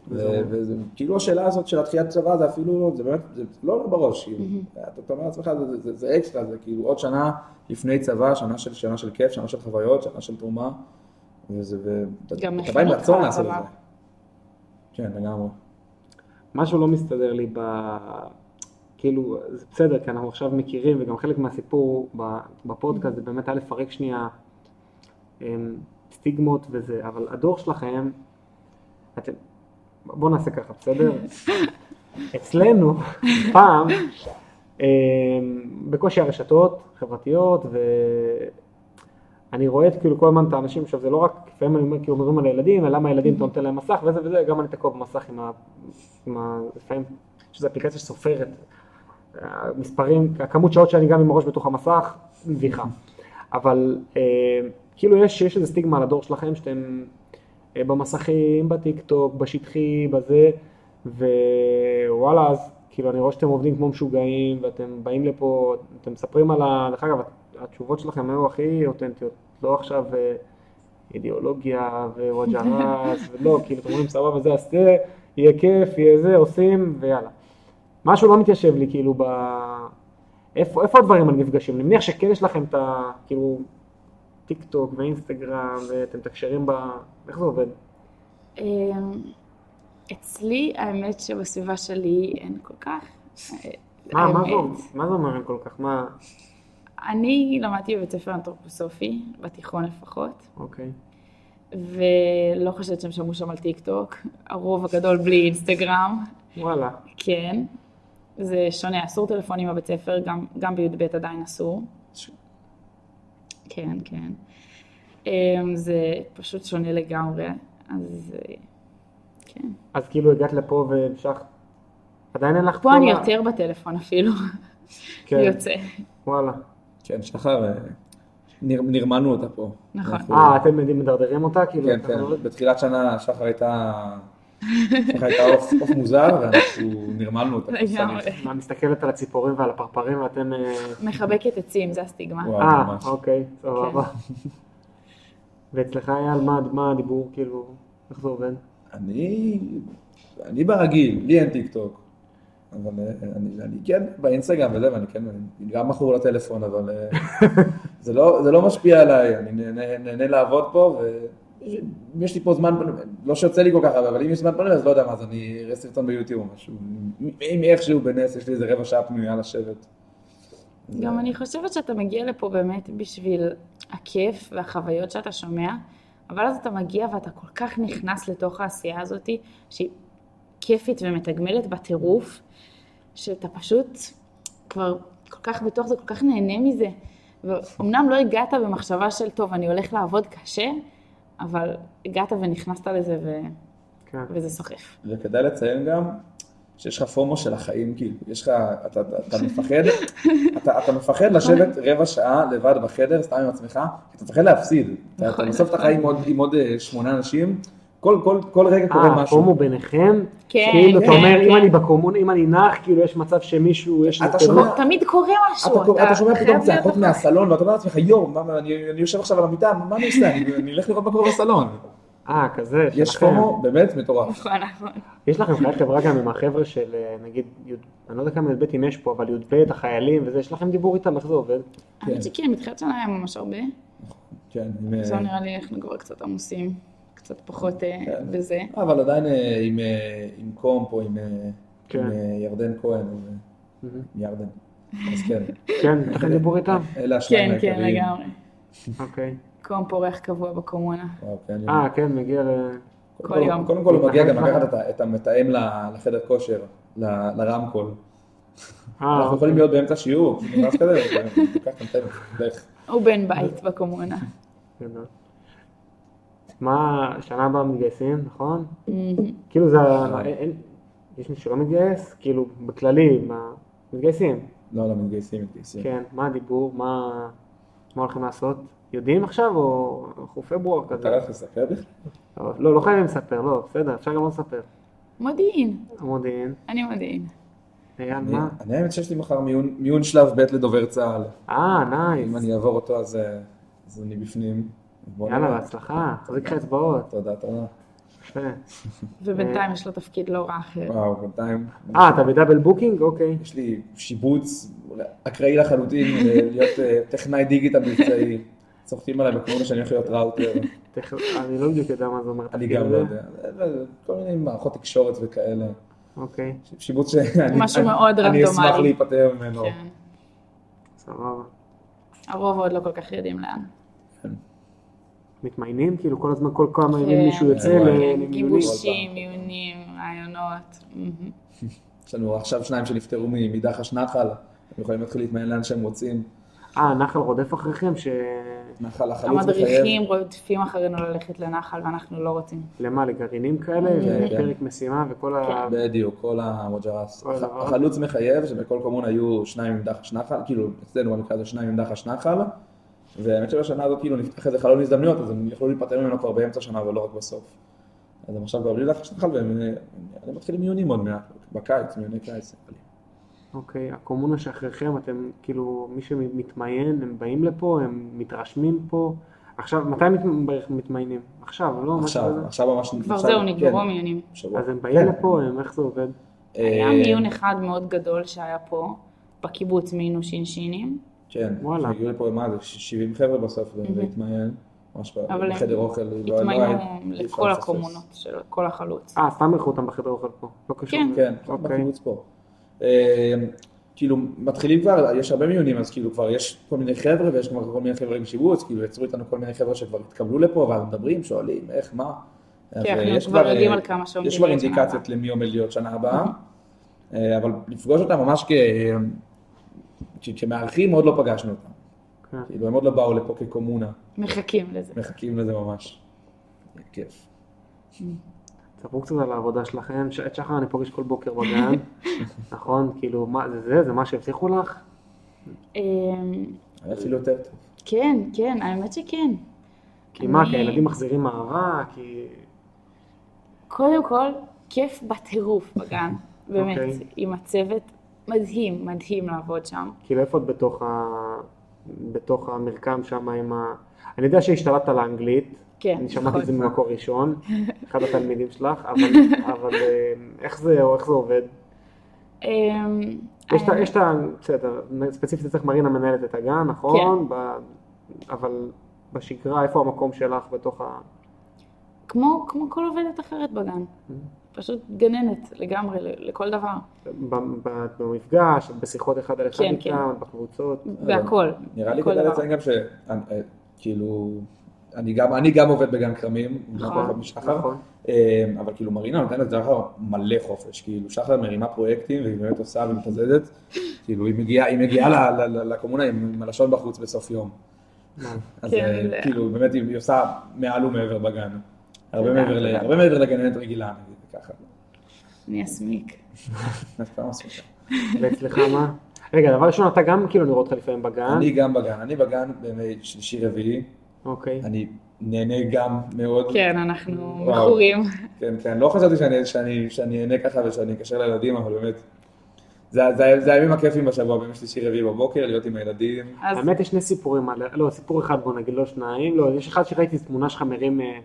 וזה-
וכאילו השאלה הזאת של התחיית צבא זה אפילו, זה באמת, זה לא עולה בראש, כאילו, אתה אתה אומר לעצמך, זה- זה- זה- זה אקסטרה, זה כאילו עוד שנה לפני צבא, שנה של שנה של כיף, שנה של חוויות, שנה של תרומה, וזה, ואתה
גם
אתה בא עם
מכין
רצון
אותך
לעשות את
לצבא.
זה. כן, לגמרי.
משהו לא מסתדר לי ב... כאילו, זה בסדר, כי אנחנו עכשיו מכירים, וגם חלק מהסיפור ב- בפודקאסט זה באמת היה לפרק שנייה אמ, סטיגמות וזה, אבל הדור שלכם, אתם... בואו נעשה ככה, בסדר? אצלנו, פעם, אמ, בקושי הרשתות חברתיות, ואני רואה את כאילו כל הזמן את האנשים, עכשיו זה לא רק, לפעמים אני אומר, כאילו אומרים על הילדים, למה הילדים אתה נותן להם מסך וזה וזה, גם אני תקוע במסך עם ה... עם ה... לפעמים, יש איזו אפליקציה שסופרת. המספרים, הכמות שעות שאני גם עם הראש בתוך המסך, מביכה. אבל אה, כאילו יש, יש איזה סטיגמה על הדור שלכם שאתם אה, במסכים, בטיקטוק, בשטחי, בזה, ווואלה, אז כאילו אני רואה שאתם עובדים כמו משוגעים, ואתם באים לפה, אתם מספרים על ה... דרך אגב, התשובות שלכם היו הכי אותנטיות, לא עכשיו אה, אידיאולוגיה ווואג' עראס, ולא, כאילו אתם אומרים סבבה זה, אז זה, יהיה כיף, יהיה זה, עושים, ויאללה. משהו לא מתיישב לי, כאילו, ב... איפה, איפה הדברים האלה נפגשים? אני מניח שכן יש לכם את ה... כאילו, טיק טוק ואינסטגרם, ואתם מתקשרים ב... איך זה עובד?
אמ, אצלי, האמת שבסביבה שלי אין כל כך. אה,
מה, מה, זה,
האמת.
מה זה אומר אין כל כך? מה...
אני למדתי בבית ספר אנתרופוסופי, בתיכון לפחות,
אוקיי.
ולא חושבת שהם שמעו שם על טיק טוק, הרוב הגדול בלי אינסטגרם,
וואלה.
כן. זה שונה, אסור טלפונים בבית ספר, גם, גם בי"ב עדיין אסור. כן, כן. אמ, זה פשוט שונה לגמרי, אז אה, כן.
אז כאילו הגעת לפה והמשכת... עדיין אין לך...
פה
כל
אני
ה-
יותר בטלפון אפילו,
כן.
(laughs) יוצא.
וואלה.
כן, שחר, אה, נר- נרמלנו אותה פה.
נכון.
אנחנו-
אה, אתם יודעים, מדרדרים אותה? כאילו...
כן,
אתה-
כן, בתחילת שנה שחר
(laughs)
הייתה... שחר הייתה עוף עוף מוזר, ואנחנו נרמלנו אותה.
לגמרי.
מה, מסתכלת על הציפורים ועל הפרפרים ואתם... אה,
מחבקת עצים, זה הסטיגמה.
וואו,
אה,
ממש.
אוקיי, סבבה.
כן.
(laughs) ואצלך אייל, מה- מה הדיבור, כאילו, איך זה עובד?
אני, אני ברגיל, לי אין טיק טוק, אבל אה, אני, אני כן באינסטגרם וזה, ואני כן, אני גם מכור לטלפון, אבל אה, זה, לא, זה לא משפיע עליי, אני נהנה, נהנה לעבוד פה, ואם יש לי פה זמן פנוי, לא שיוצא לי כל כך הרבה, אבל אם יש זמן פנוי אז לא יודע מה, אז אני אראה סרטון ביוטיוב או משהו, אם- אם איכשהו בנס יש לי איזה רבע שעה פנויה לשבת.
גם אני חושבת שאתה מגיע לפה באמת בשביל הכיף והחוויות שאתה שומע, אבל אז אתה מגיע ואתה כל כך נכנס לתוך העשייה הזאת, שהיא כיפית ומתגמלת בטירוף, שאתה פשוט כבר כל כך בתוך זה, כל כך נהנה מזה. ואומנם לא הגעת במחשבה של, טוב, אני הולך לעבוד קשה, אבל הגעת ונכנסת לזה ו...
כן.
וזה סוחף.
וכדאי לציין גם שיש לך פומו של החיים, כאילו, יש לך, אתה, אתה, אתה מפחד,
(laughs)
אתה, אתה מפחד
נכון.
לשבת רבע שעה לבד בחדר, סתם עם עצמך, כי אתה מפחד להפסיד. אתה- אתה
נכון,
בסוף אתה
נכון.
חי עם עוד- עם עוד אה, שמונה אנשים, כל, כל, כל רגע קורה
אה, הפורום
משהו.
הוא ביניכם?
כן,
כאילו, אתה
כן,
אומר, אם
כן.
אני בקומונה, אם אני נח, כאילו יש מצב שמישהו, יש...
אתה
איזה
שומע?
טרור.
תמיד קורה
אתה,
משהו,
אתה, אתה שומע פתאום
חייב להיות
צעקות
נוכח.
מהסלון, ואתה אומר לעצמך, יואו, מה- מה- אני, אני יושב עכשיו על המיטה, מה מה אני עושה? אני, אני אלך לראות מה קורה בסלון.
אה, כזה,
יש
שלכם.
פומו באמת מטורף.
נכון, נכון.
יש לכם חיי חברה גם עם החבר'ה של, אה, נגיד, י'- אני לא יודע כמה י"ב אם יש פה, אבל י"ב, החיילים וזה, יש לכם דיבור איתם, איך זה עובד?
האמת שכן, מתחילת שנה היה ממש הרבה.
כן, עם,
עכשיו
אה,
נראה לי אנחנו כבר קצת עמוסים, קצת פחות אה,
כן.
בזה.
אבל עדיין אה, עם, אה, עם קומפ או עם, אה,
כן.
עם אה, ירדן כהן, אז, אה, ירדן. אז כן,
(laughs)
כן, יש לכם דיבור איתם?
אלה השניים
כן, כן,
העיקריים.
לגמרי.
אוקיי.
קום פורח קבוע בקומונה.
וואו, כן, אני-
אה, כן, מגיע ל...
כל יום.
קודם כל הוא מגיע גם
נכון.
לקחת את ה- את המתאם ל- לחדר כושר, ל- לרמקול.
אה,
אנחנו יכולים להיות באמצע שיעור, נכנס כזה, וכך נתן, לך.
הוא בן בית בקומונה.
(laughs)
גדול. מה, שנה הבאה מתגייסים, נכון?
מהמם.
כאילו זה, ה-
נכון.
אין- יש מישהו שלא מתגייס? כאילו, בכללי, מה, מתגייסים,
לא, לא, מתגייסים, מתגייסים.
כן, מה הדיבור, מה, מה הולכים לעשות? יודעים עכשיו או אנחנו פברואר
אתה
כזה?
לא יכול לספר בכלל?
לא, לא, לא חייבים לספר, לא, בסדר, אפשר גם לא לספר.
מודיעין,
המודיעין, אני...
אני מודיעין.
אייל,
אני-
מה?
אני האמת שיש לי מחר מיון מיון שלב ב' לדובר צה"ל.
אה,
אם
נייס,
אני אעבור אותו אז אה, אז אני בפנים. בוא
יאללה,
נראה.
בהצלחה, תחזיק לך אצבעות,
תודה, תודה.
יפה.
ובינתיים יש לו תפקיד לא רע אחר.
וואו, בינתיים.
אה, אתה בדאבל בוקינג? אוקיי.
יש לי שיבוץ אקראי לחלוטין, אה, להיות אה, טכנאי דיגיטל מבצעי. צוחקים עליי בקורונה שאני הולך להיות ראוטר,
תכף, אני לא בדיוק יודע מה זה אומר.
אני
תפקיד
גם לא
הזה.
יודע. כל מיני מערכות תקשורת וכאלה.
אוקיי,
שיבוץ שאני
משהו
אני-
מאוד
אני אשמח
רנדומלי.
להיפטר ממנו.
כן.
סבבה.
הרוב עוד לא כל כך יודעים לאן.
כן,
מתמיינים? כאילו כל הזמן, כל כמה ימים
כן.
מישהו יוצא
כן,
ל-
כן,
למיונים?
גיבושים, מיונים, רעיונות. מהמם.
יש לנו עכשיו שניים שנפטרו מדחש נחל, הם יכולים להתחיל להתמיין לאן שהם רוצים.
אה, נחל רודף אחריכם? ש...
נחל החלוץ
המדריכים
מחייב.
רודפים אחרינו ללכת לנחל ואנחנו לא רוצים.
למה, לגרעינים כאלה?
כן.
לפרק משימה וכל ה...
בדיוק, כל הווג'רס.
כל הדבר.
החלוץ מחייב, שבכל קומון היו שניים עם דחש נחל, כאילו אצלנו במקרה הזה שניים עם דחש נחל, והאמת שבשנה הזאת כאילו נפתח איזה חלון הזדמנויות, אז הם יכלו להיפטר ממנו כבר באמצע שנה ולא רק בסוף. אז הם עכשיו כבר בלי דחש נחל, והם אה, הם מתחילים מיונים עוד מעט, בקיץ, מיוני קיץ.
אוקיי, הקומונה שאחריכם, אתם כאילו, מי שמתמיין, הם באים לפה, הם מתרשמים פה. עכשיו, מתי מת- בערך מתמיינים? עכשיו, לא? משהו
עכשיו,
כזה?
עכשיו ממש...
כבר
עכשיו-
זהו, נגמרו
כן,
המיונים.
שבוע.
אז הם באים
כן.
לפה, הם, איך זה עובד?
היה
אה,
מיון אחד מאוד גדול שהיה פה, בקיבוץ מיינו שינשינים,
כן,
וואלה.
הגיעו לפה, מה זה, ש- 70 חבר'ה בסוף, זה זה התמיין, ממש
אבל הם
בחדר אוכל, לא- לא
התמיינו
היה- אי אפשר
לכל
לפספס.
הקומונות של כל החלוץ.
אה, סתם אירחו אותם בחדר אוכל פה. לא קשור.
כן.
כן,
אוקיי.
בקיבוץ פה. אה, כאילו, מתחילים כבר, יש הרבה מיונים, אז כאילו כבר יש כל מיני חבר'ה, ויש כבר כל מיני חבר'ה עם שיבוץ, כאילו יצרו איתנו כל מיני חבר'ה שכבר התקבלו לפה, ואז מדברים, שואלים, איך, מה. אז,
כן,
אה, יש
אנחנו כבר יודעים
אה,
על כמה שעומדים.
יש כבר
להיות שנה
אינדיקציות
הבאה.
למי עומד להיות שנה הבאה, אה, אבל לפגוש אותם ממש כ- כ... כמארחים עוד לא פגשנו אותם.
כן.
כאילו, הם עוד לא באו לפה כקומונה,
מחכים לזה.
מחכים לזה ממש. כיף.
תספרו קצת על העבודה שלכם. ש- את שחר אני פוגש כל בוקר
(laughs)
בגן, נכון? כאילו, מה זה זה? זה מה שהבטיחו לך?
אמ,
היה אפילו יותר טוב.
כן, כן, האמת שכן.
כי מה,
אני-
כי הילדים מחזירים מערה, כי...
קודם כל, כיף בטירוף
(laughs)
בגן, באמת,
אוקיי.
עם הצוות. מדהים, מדהים לעבוד שם.
כאילו איפה את בתוך, ה... בתוך המרקם שם עם ה... אני יודע שהשתלטת על האנגלית,
כן,
אני שמעתי
נכון.
את זה ממקור
(laughs)
ראשון, אחד התלמידים שלך, אבל, אבל אה, איך זה, או איך זה עובד?
אמ,
יש את ה...
האמת-
יש את ה... בסדר, ספציפית אצלך מרינה מנהלת את הגן, נכון?
כן.
ב... אבל בשגרה, איפה המקום שלך בתוך ה...
כמו, כמו כל עובדת אחרת בגן.
Mm-hmm.
פשוט גננת לגמרי, ל- לכל
אה,
דבר.
ב... ב... במפגש, בשיחות אחד על אחד
כן,
איתם, בקבוצות?
בהכל.
נראה לי
בכל
כדאי
דבר.
לציין גם ש... אה, אה, כאילו... אני גם, אני גם עובד בגן כרמים,
נכון.
נכון, משחר,
נכון.
אה, אבל כאילו מרינה נותנת לשחר מלא חופש, כאילו שחר מרימה פרויקטים והיא באמת עושה ומתעזדת, כאילו היא מגיעה, היא מגיעה ל- ל- ל- לקומונה עם עם הלשון בחוץ בסוף יום, אז
כן,
אה,
זה-
כאילו באמת היא היא עושה מעל ומעבר בגן, הרבה
תודה,
מעבר ל-
תודה.
הרבה מעבר לגננת רגילה, נגיד ככה,
אני אסמיק.
אז פעם עשו.
ואצלך מה? רגע, דבר ראשון, אתה גם כאילו נראה אותך לפעמים
אה?
בגן,
אני גם בגן, אני בגן בימי שלישי רביעי,
אוקיי.
אני נהנה גם מאוד.
כן, אנחנו
וואו.
מכורים.
כן, כן, לא חשבתי שאני, שאני, שאני אהנה ככה ושאני אקשר לילדים, אבל באמת, זה, זה, זה הימים הכיפים בשבוע, בימי שלישי רביעי בבוקר, להיות עם הילדים.
אז
האמת יש שני סיפורים, על- לא, סיפור אחד בוא נגיד, לא שניים, לא, יש אחד שראיתי תמונה שלך מרים, אה,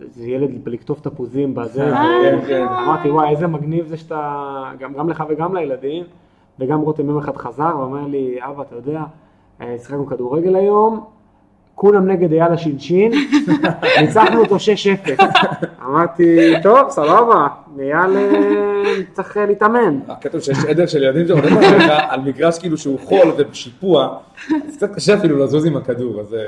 זה ילד בלקטוף תפוזים בזה,
כן,
ו-
כן.
אמרתי וואי איזה מגניב זה שאתה, גם, גם לך וגם לילדים, וגם רותם יום אחד חזר ואומר לי, אבא אתה יודע, אה, שיחקנו כדורגל היום, כולם נגד אייל
(laughs)
השינשין, ניצחנו אותו 6-0, אמרתי, טוב סבבה, אייל אה, צריך אה, להתאמן,
הקטע הוא שיש עדר של ילדים שעולים עליך (laughs) על מגרש כאילו שהוא חול ושיפוע, אז קצת קשה אפילו לזוז עם הכדור, אז אה,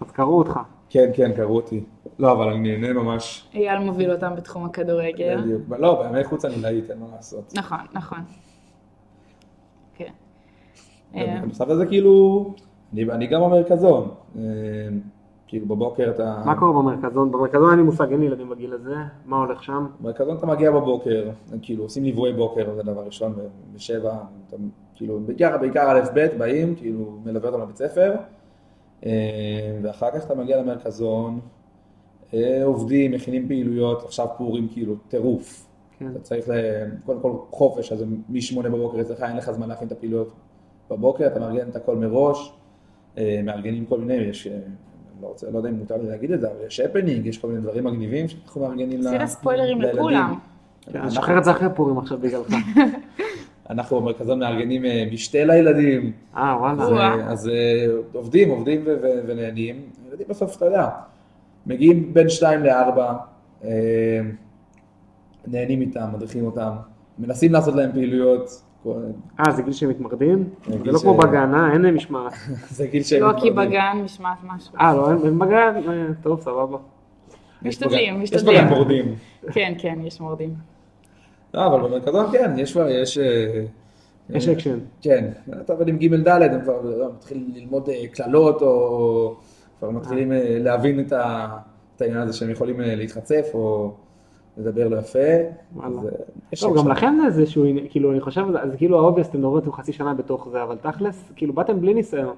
אז קראו אותך,
כן, כן, קראו אותי. לא, אבל אני נהנה ממש.
אייל מוביל אותם בתחום הכדורגל.
בדיוק. לא, בימי חוץ אני להיט, אין מה לעשות.
נכון, נכון. כן. אה,
בנוסף לזה כאילו, אני, אני גם במרכזון. אה, כאילו בבוקר אתה...
מה קורה במרכזון? במרכזון אין לי מושג, אין לי ילדים בגיל הזה, מה הולך שם?
במרכזון אתה מגיע בבוקר, הם כאילו עושים ליווי בוקר, זה דבר ראשון, ב- בשבע, אתה, כאילו בעיקר, בעיקר א' ב', באים, כאילו מלווה אותם לבית ספר, אה, ואחר כך אתה מגיע למרכזון, אה, עובדים, מכינים פעילויות, עכשיו פורים כאילו טירוף.
כן.
אתה צריך ל- קודם כל חופש, אז מ-8 בבוקר אצלך אין לך זמן להכין את הפעילויות בבוקר, אתה מארגן את הכל מראש, אה, מארגנים כל מיני, יש, אה, אני לא, רוצה, לא יודע אם מותר לי להגיד את זה, אבל יש הפנינג, יש כל מיני דברים מגניבים שאנחנו מארגנים ל-
עשית ספוילרים
לילדים.
לכולם.
כן, אני
אנחנו-
אשחרר את זה אחרי פורים עכשיו בגללך.
(laughs) אנחנו במרכזון מארגנים אה, משתה לילדים,
אה, וואלה.
אז,
וואו.
אה, אז אה, עובדים, עובדים ו- ו- ונהנים, ילדים בסוף, אתה יודע, מגיעים בין שתיים לארבע, אה, נהנים איתם, מדריכים אותם, מנסים לעשות להם פעילויות, (laughs) כל-
אה, זה גיל שהם מתמרדים?
זה
זה
גיל
לא
ש-
כמו בגן, אה? אין להם משמעת.
זה גיל שהם
לא כי
מתמודדים.
בגן משמעת משהו.
אה, לא, אין- אין בגן? אה, טוב, סבבה.
יש
משתדלים,
בגן-
משתדלים.
יש בגן מורדים.
כן, כן, יש מורדים.
לא, אבל במרכזון כן, יש כבר, יש... אה,
יש אקשן.
כן, אתה עובד עם ג' ד', הם כבר לא, מתחילים ללמוד אה, קללות, או כבר מתחילים אה, להבין את ה- את העניין הזה שהם יכולים אה, להתחצף, או לדבר לא יפה.
וואלה.
אז, אה, יש
טוב,
שם.
לא, גם לכם זה איזשהו, עניין, כאילו, אני חושב, על זה, אז כאילו האובייס, אתם נורדתם חצי שנה בתוך זה, אבל תכלס, כאילו, באתם בלי ניסיון.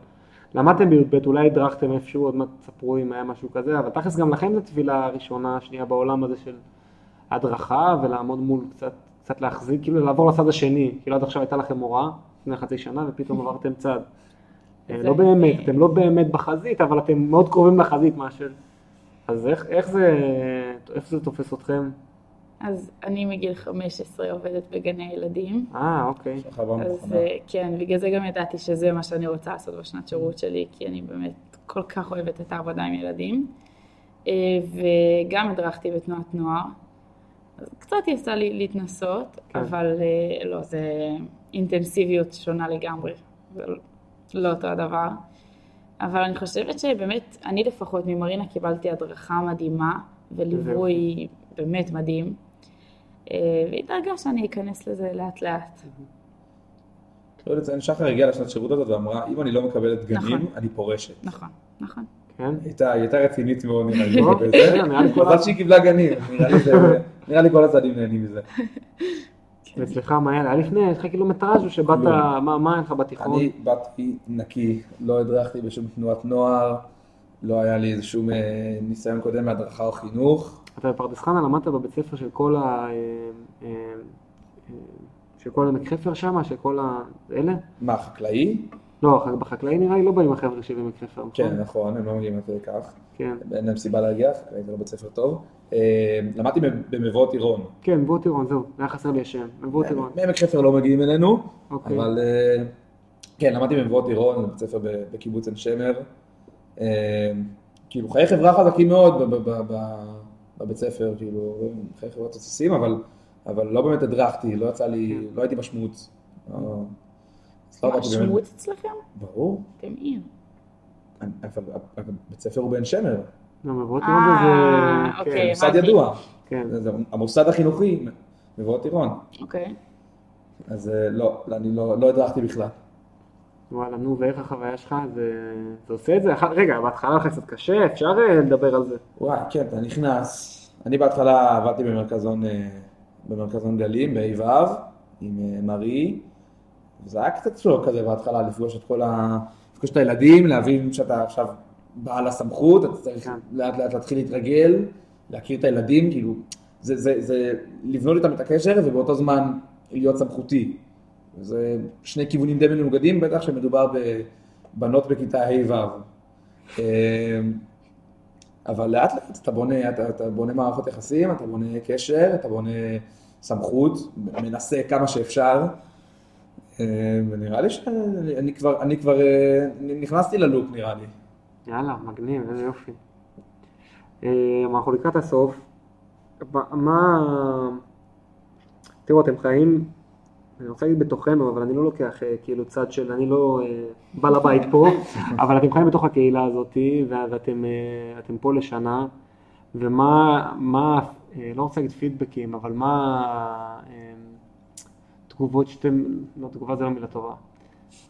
למדתם בי"ב, אולי הדרכתם איפשהו, עוד מעט תספרו אם היה משהו כזה, אבל תכלס גם לכם זו תפילה ראשונה, שנייה בעולם הזה של הדרכה, ולעמוד מול קצת, קצת להחזיק, כאילו לעבור לצד השני, כאילו עד עכשיו הייתה לכם מורה, לפני חצי שנה,
(laughs)
ופתאום עברתם צד. אה, לא באמת, אתם לא באמת בחזית, אבל אתם מאוד קרובים לחזית מאשר. אז איך, איך זה, איך זה תופס אתכם?
אז אני מגיל 15 עובדת בגני ילדים.
אה, אוקיי.
יש לך עבר
אז
מוכנה.
אה, כן, בגלל זה גם ידעתי שזה מה שאני רוצה לעשות בשנת שירות שלי, כי אני באמת כל כך אוהבת את העבודה עם ילדים. אה, וגם הדרכתי בתנועת נוער. אז קצת יצא לי להתנסות,
כן.
אבל אה, לא, זה אינטנסיביות שונה לגמרי. זה לא- לא אותו הדבר. אבל אני חושבת שבאמת, אני לפחות ממרינה קיבלתי הדרכה מדהימה, וליווי באמת מדהים. אה, והיא דאגה שאני אכנס לזה לאט לאט.
לא לציין, שחר הגיעה לשנת שירות הזאת ואמרה, אם אני לא מקבלת גנים,
נכון.
אני פורשת.
נכון, נכון.
כן?
הייתה, היא הייתה רצינית מאוד נראה לי,
לא,
בזה.
נראה לי כל
מזל
ה-
שהיא קיבלה גנים, נראה לי זה- נראה לי כל הצדדים נהנים מזה.
אצלך כן. מה היה? היה לפני, יש לך קילומטראז' או שבאת,
כלום.
מה מה היה לך בתיכון?
אני באתי נקי, לא הדרכתי בשום תנועת נוער, לא היה לי איזה שום אה, ניסיון קודם מהדרכה או חינוך.
אתה בפרדס חנה למדת בבית ספר של כל ה... אה, אה, אה, של כל עמק חפר שם, של כל ה... אלה?
מה, חקלאי?
לא, אח- בחקלאי נראה לי לא באים החבר'ה של עמק חפר, נכון?
כן, נכון, הם לא מגיעים עד כדי כך.
כן,
אין להם סיבה להגיע, חקלאי זה לא בית ספר טוב. אה, למדתי במבואות עירון.
כן, מבוא טירון, זהו, היה חסר לי השם, מבוא טירון.
מעמק חפר לא מגיעים אלינו,
אוקיי.
אבל אה, כן, למדתי במבואות עירון, בבית ספר ב- בקיבוץ עין שמר. אה, כאילו, חיי חברה חזקים מאוד ב- ב- ב- ב- בבית ספר, כאילו, חיי חברה תוססים, אבל, אבל לא באמת הדרכתי, לא יצא לי, לא הייתי משמעות. לא- אז לא
מה,
עברתי באמת-
שמות אצלכם?
ברור,
אתם עיר.
אני- אבל אבל בית ספר הוא בעין שמר,
לא, מבוא טירון
אה,
זה...
אוקיי.
כן,
מוסד
הבנתי.
ידוע,
כן.
זה- זה המוסד החינוכי, מבואות עירון.
אוקיי.
אז אה, לא, אני לא לא הדרכתי בכלל.
וואלה, נו, ואיך החוויה שלך? זה זה עושה את זה? אחת- רגע, בהתחלה היה לך קצת קשה, אפשר אה, לדבר על זה.
וואי, כן, אתה נכנס. אני בהתחלה עבדתי במרכזון, אה, במרכזון גלים, ב-ה' ו', עם אה, מרי. זה היה קצת שלו כזה בהתחלה, לפגוש את כל ה... לפגוש את הילדים, להבין שאתה עכשיו בעל הסמכות, אתה צריך
כן.
לאט לאט להתחיל להתרגל, להכיר את הילדים, כאילו, זה, זה, זה לבנות איתם את הקשר ובאותו זמן להיות סמכותי. זה שני כיוונים די מנוגדים, בטח שמדובר בבנות בכיתה ה'-ו'. אה, אבל לאט לאט אתה בונה, אתה, אתה בונה מערכות יחסים, אתה בונה קשר, אתה בונה סמכות, מנסה כמה שאפשר. אה, ונראה לי שאני אני כבר, אני כבר אה, נכנסתי ללופ נראה לי.
יאללה, מגניב, איזה יופי. אה, אנחנו לקראת הסוף. ב- מה... תראו, אתם חיים, אני רוצה להגיד בתוכנו, אבל אני לא לוקח אה, כאילו צד של, אני לא אה, בעל הבית פה, אבל אתם חיים בתוך הקהילה הזאת, ו- ואתם אה, אתם פה לשנה, ומה, מה, אה, לא רוצה להגיד פידבקים, אבל מה אה, תגובות שאתם, לא, תגובה זה לא מילה טובה.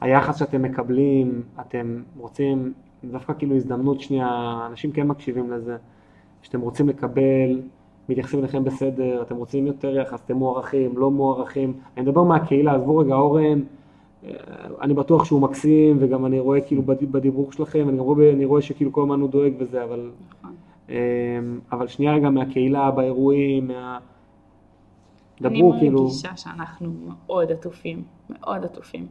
היחס שאתם מקבלים, אתם רוצים, דווקא כאילו הזדמנות שנייה, אנשים כן מקשיבים לזה, שאתם רוצים לקבל, מתייחסים אליכם בסדר, אתם רוצים יותר יחס, אתם מוערכים, לא מוערכים. אני מדבר מהקהילה, עזבו רגע אורן, אה, אני בטוח שהוא מקסים, וגם אני רואה כאילו בד- בדיבור שלכם, אני גם רואה, אני רואה שכאילו כל הזמן הוא דואג וזה, אבל
נכון.
אמ, אבל שנייה רגע מהקהילה, באירועים, מה...
אני
דברו כאילו,
מרגישה שאנחנו מאוד עטופים, מאוד עטופים.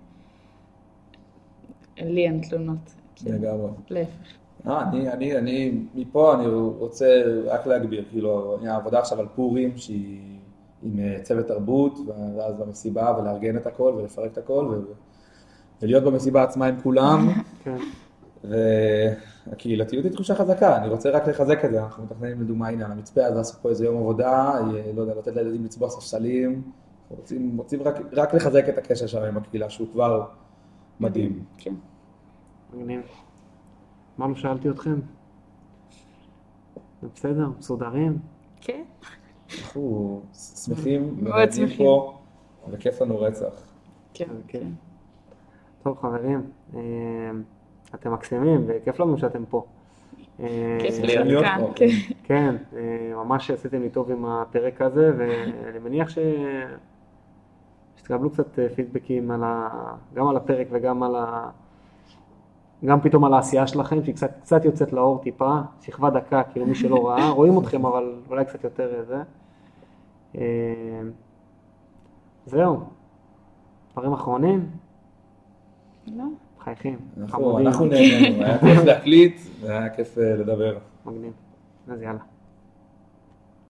לי אין תלונות. כאילו,
לגמרי.
להפך.
אה, אני, אני, אני, מפה אני רוצה רק להגביר, כאילו, הנה, העבודה עכשיו על פורים, שהיא עם אה, צוות תרבות, ואז במסיבה, ולארגן את הכל, ולפרק את הכל, ו... ולהיות במסיבה עצמה עם כולם.
כן,
והקהילתיות היא תחושה חזקה, אני רוצה רק לחזק את זה, אנחנו מתכננים לדוגמה, הנה, על המצפה, אז לעשות פה איזה יום עבודה, אה, לא יודע, לתת לילדים לצבוע ספסלים, רוצים, רוצים רק, רק לחזק את הקשר שלנו עם הקהילה, שהוא כבר מדהים.
כן.
מגניב. מה לא שאלתי אתכם? זה בסדר, מסודרים?
כן.
אנחנו שמחים,
מאוד
ונהנים
שמחים.
פה, וכיף לנו רצח.
כן,
אז
כן.
כן. טוב חברים, אה, אתם מקסימים וכיף לנו שאתם פה. אה,
כיף
להיות אוקיי.
להיות כאן,
פה.
כן.
כן, אה, ממש עשיתם לי טוב עם הפרק הזה, ואני מניח ש... שתקבלו קצת אה, פידבקים על ה... גם על הפרק וגם על ה... גם פתאום על העשייה שלכם, שהיא קצת, קצת יוצאת לאור טיפה, שכבה דקה, כאילו מי שלא ראה, רואים אתכם, אבל אולי קצת יותר אה, זה. אה, זהו, דברים אחרונים,
לא,
מחייכים,
נכון, אנחנו
חמודים,
אנחנו נהנינו, היה כיף להקליט והיה כיף אה, לדבר.
מגניב. אז יאללה.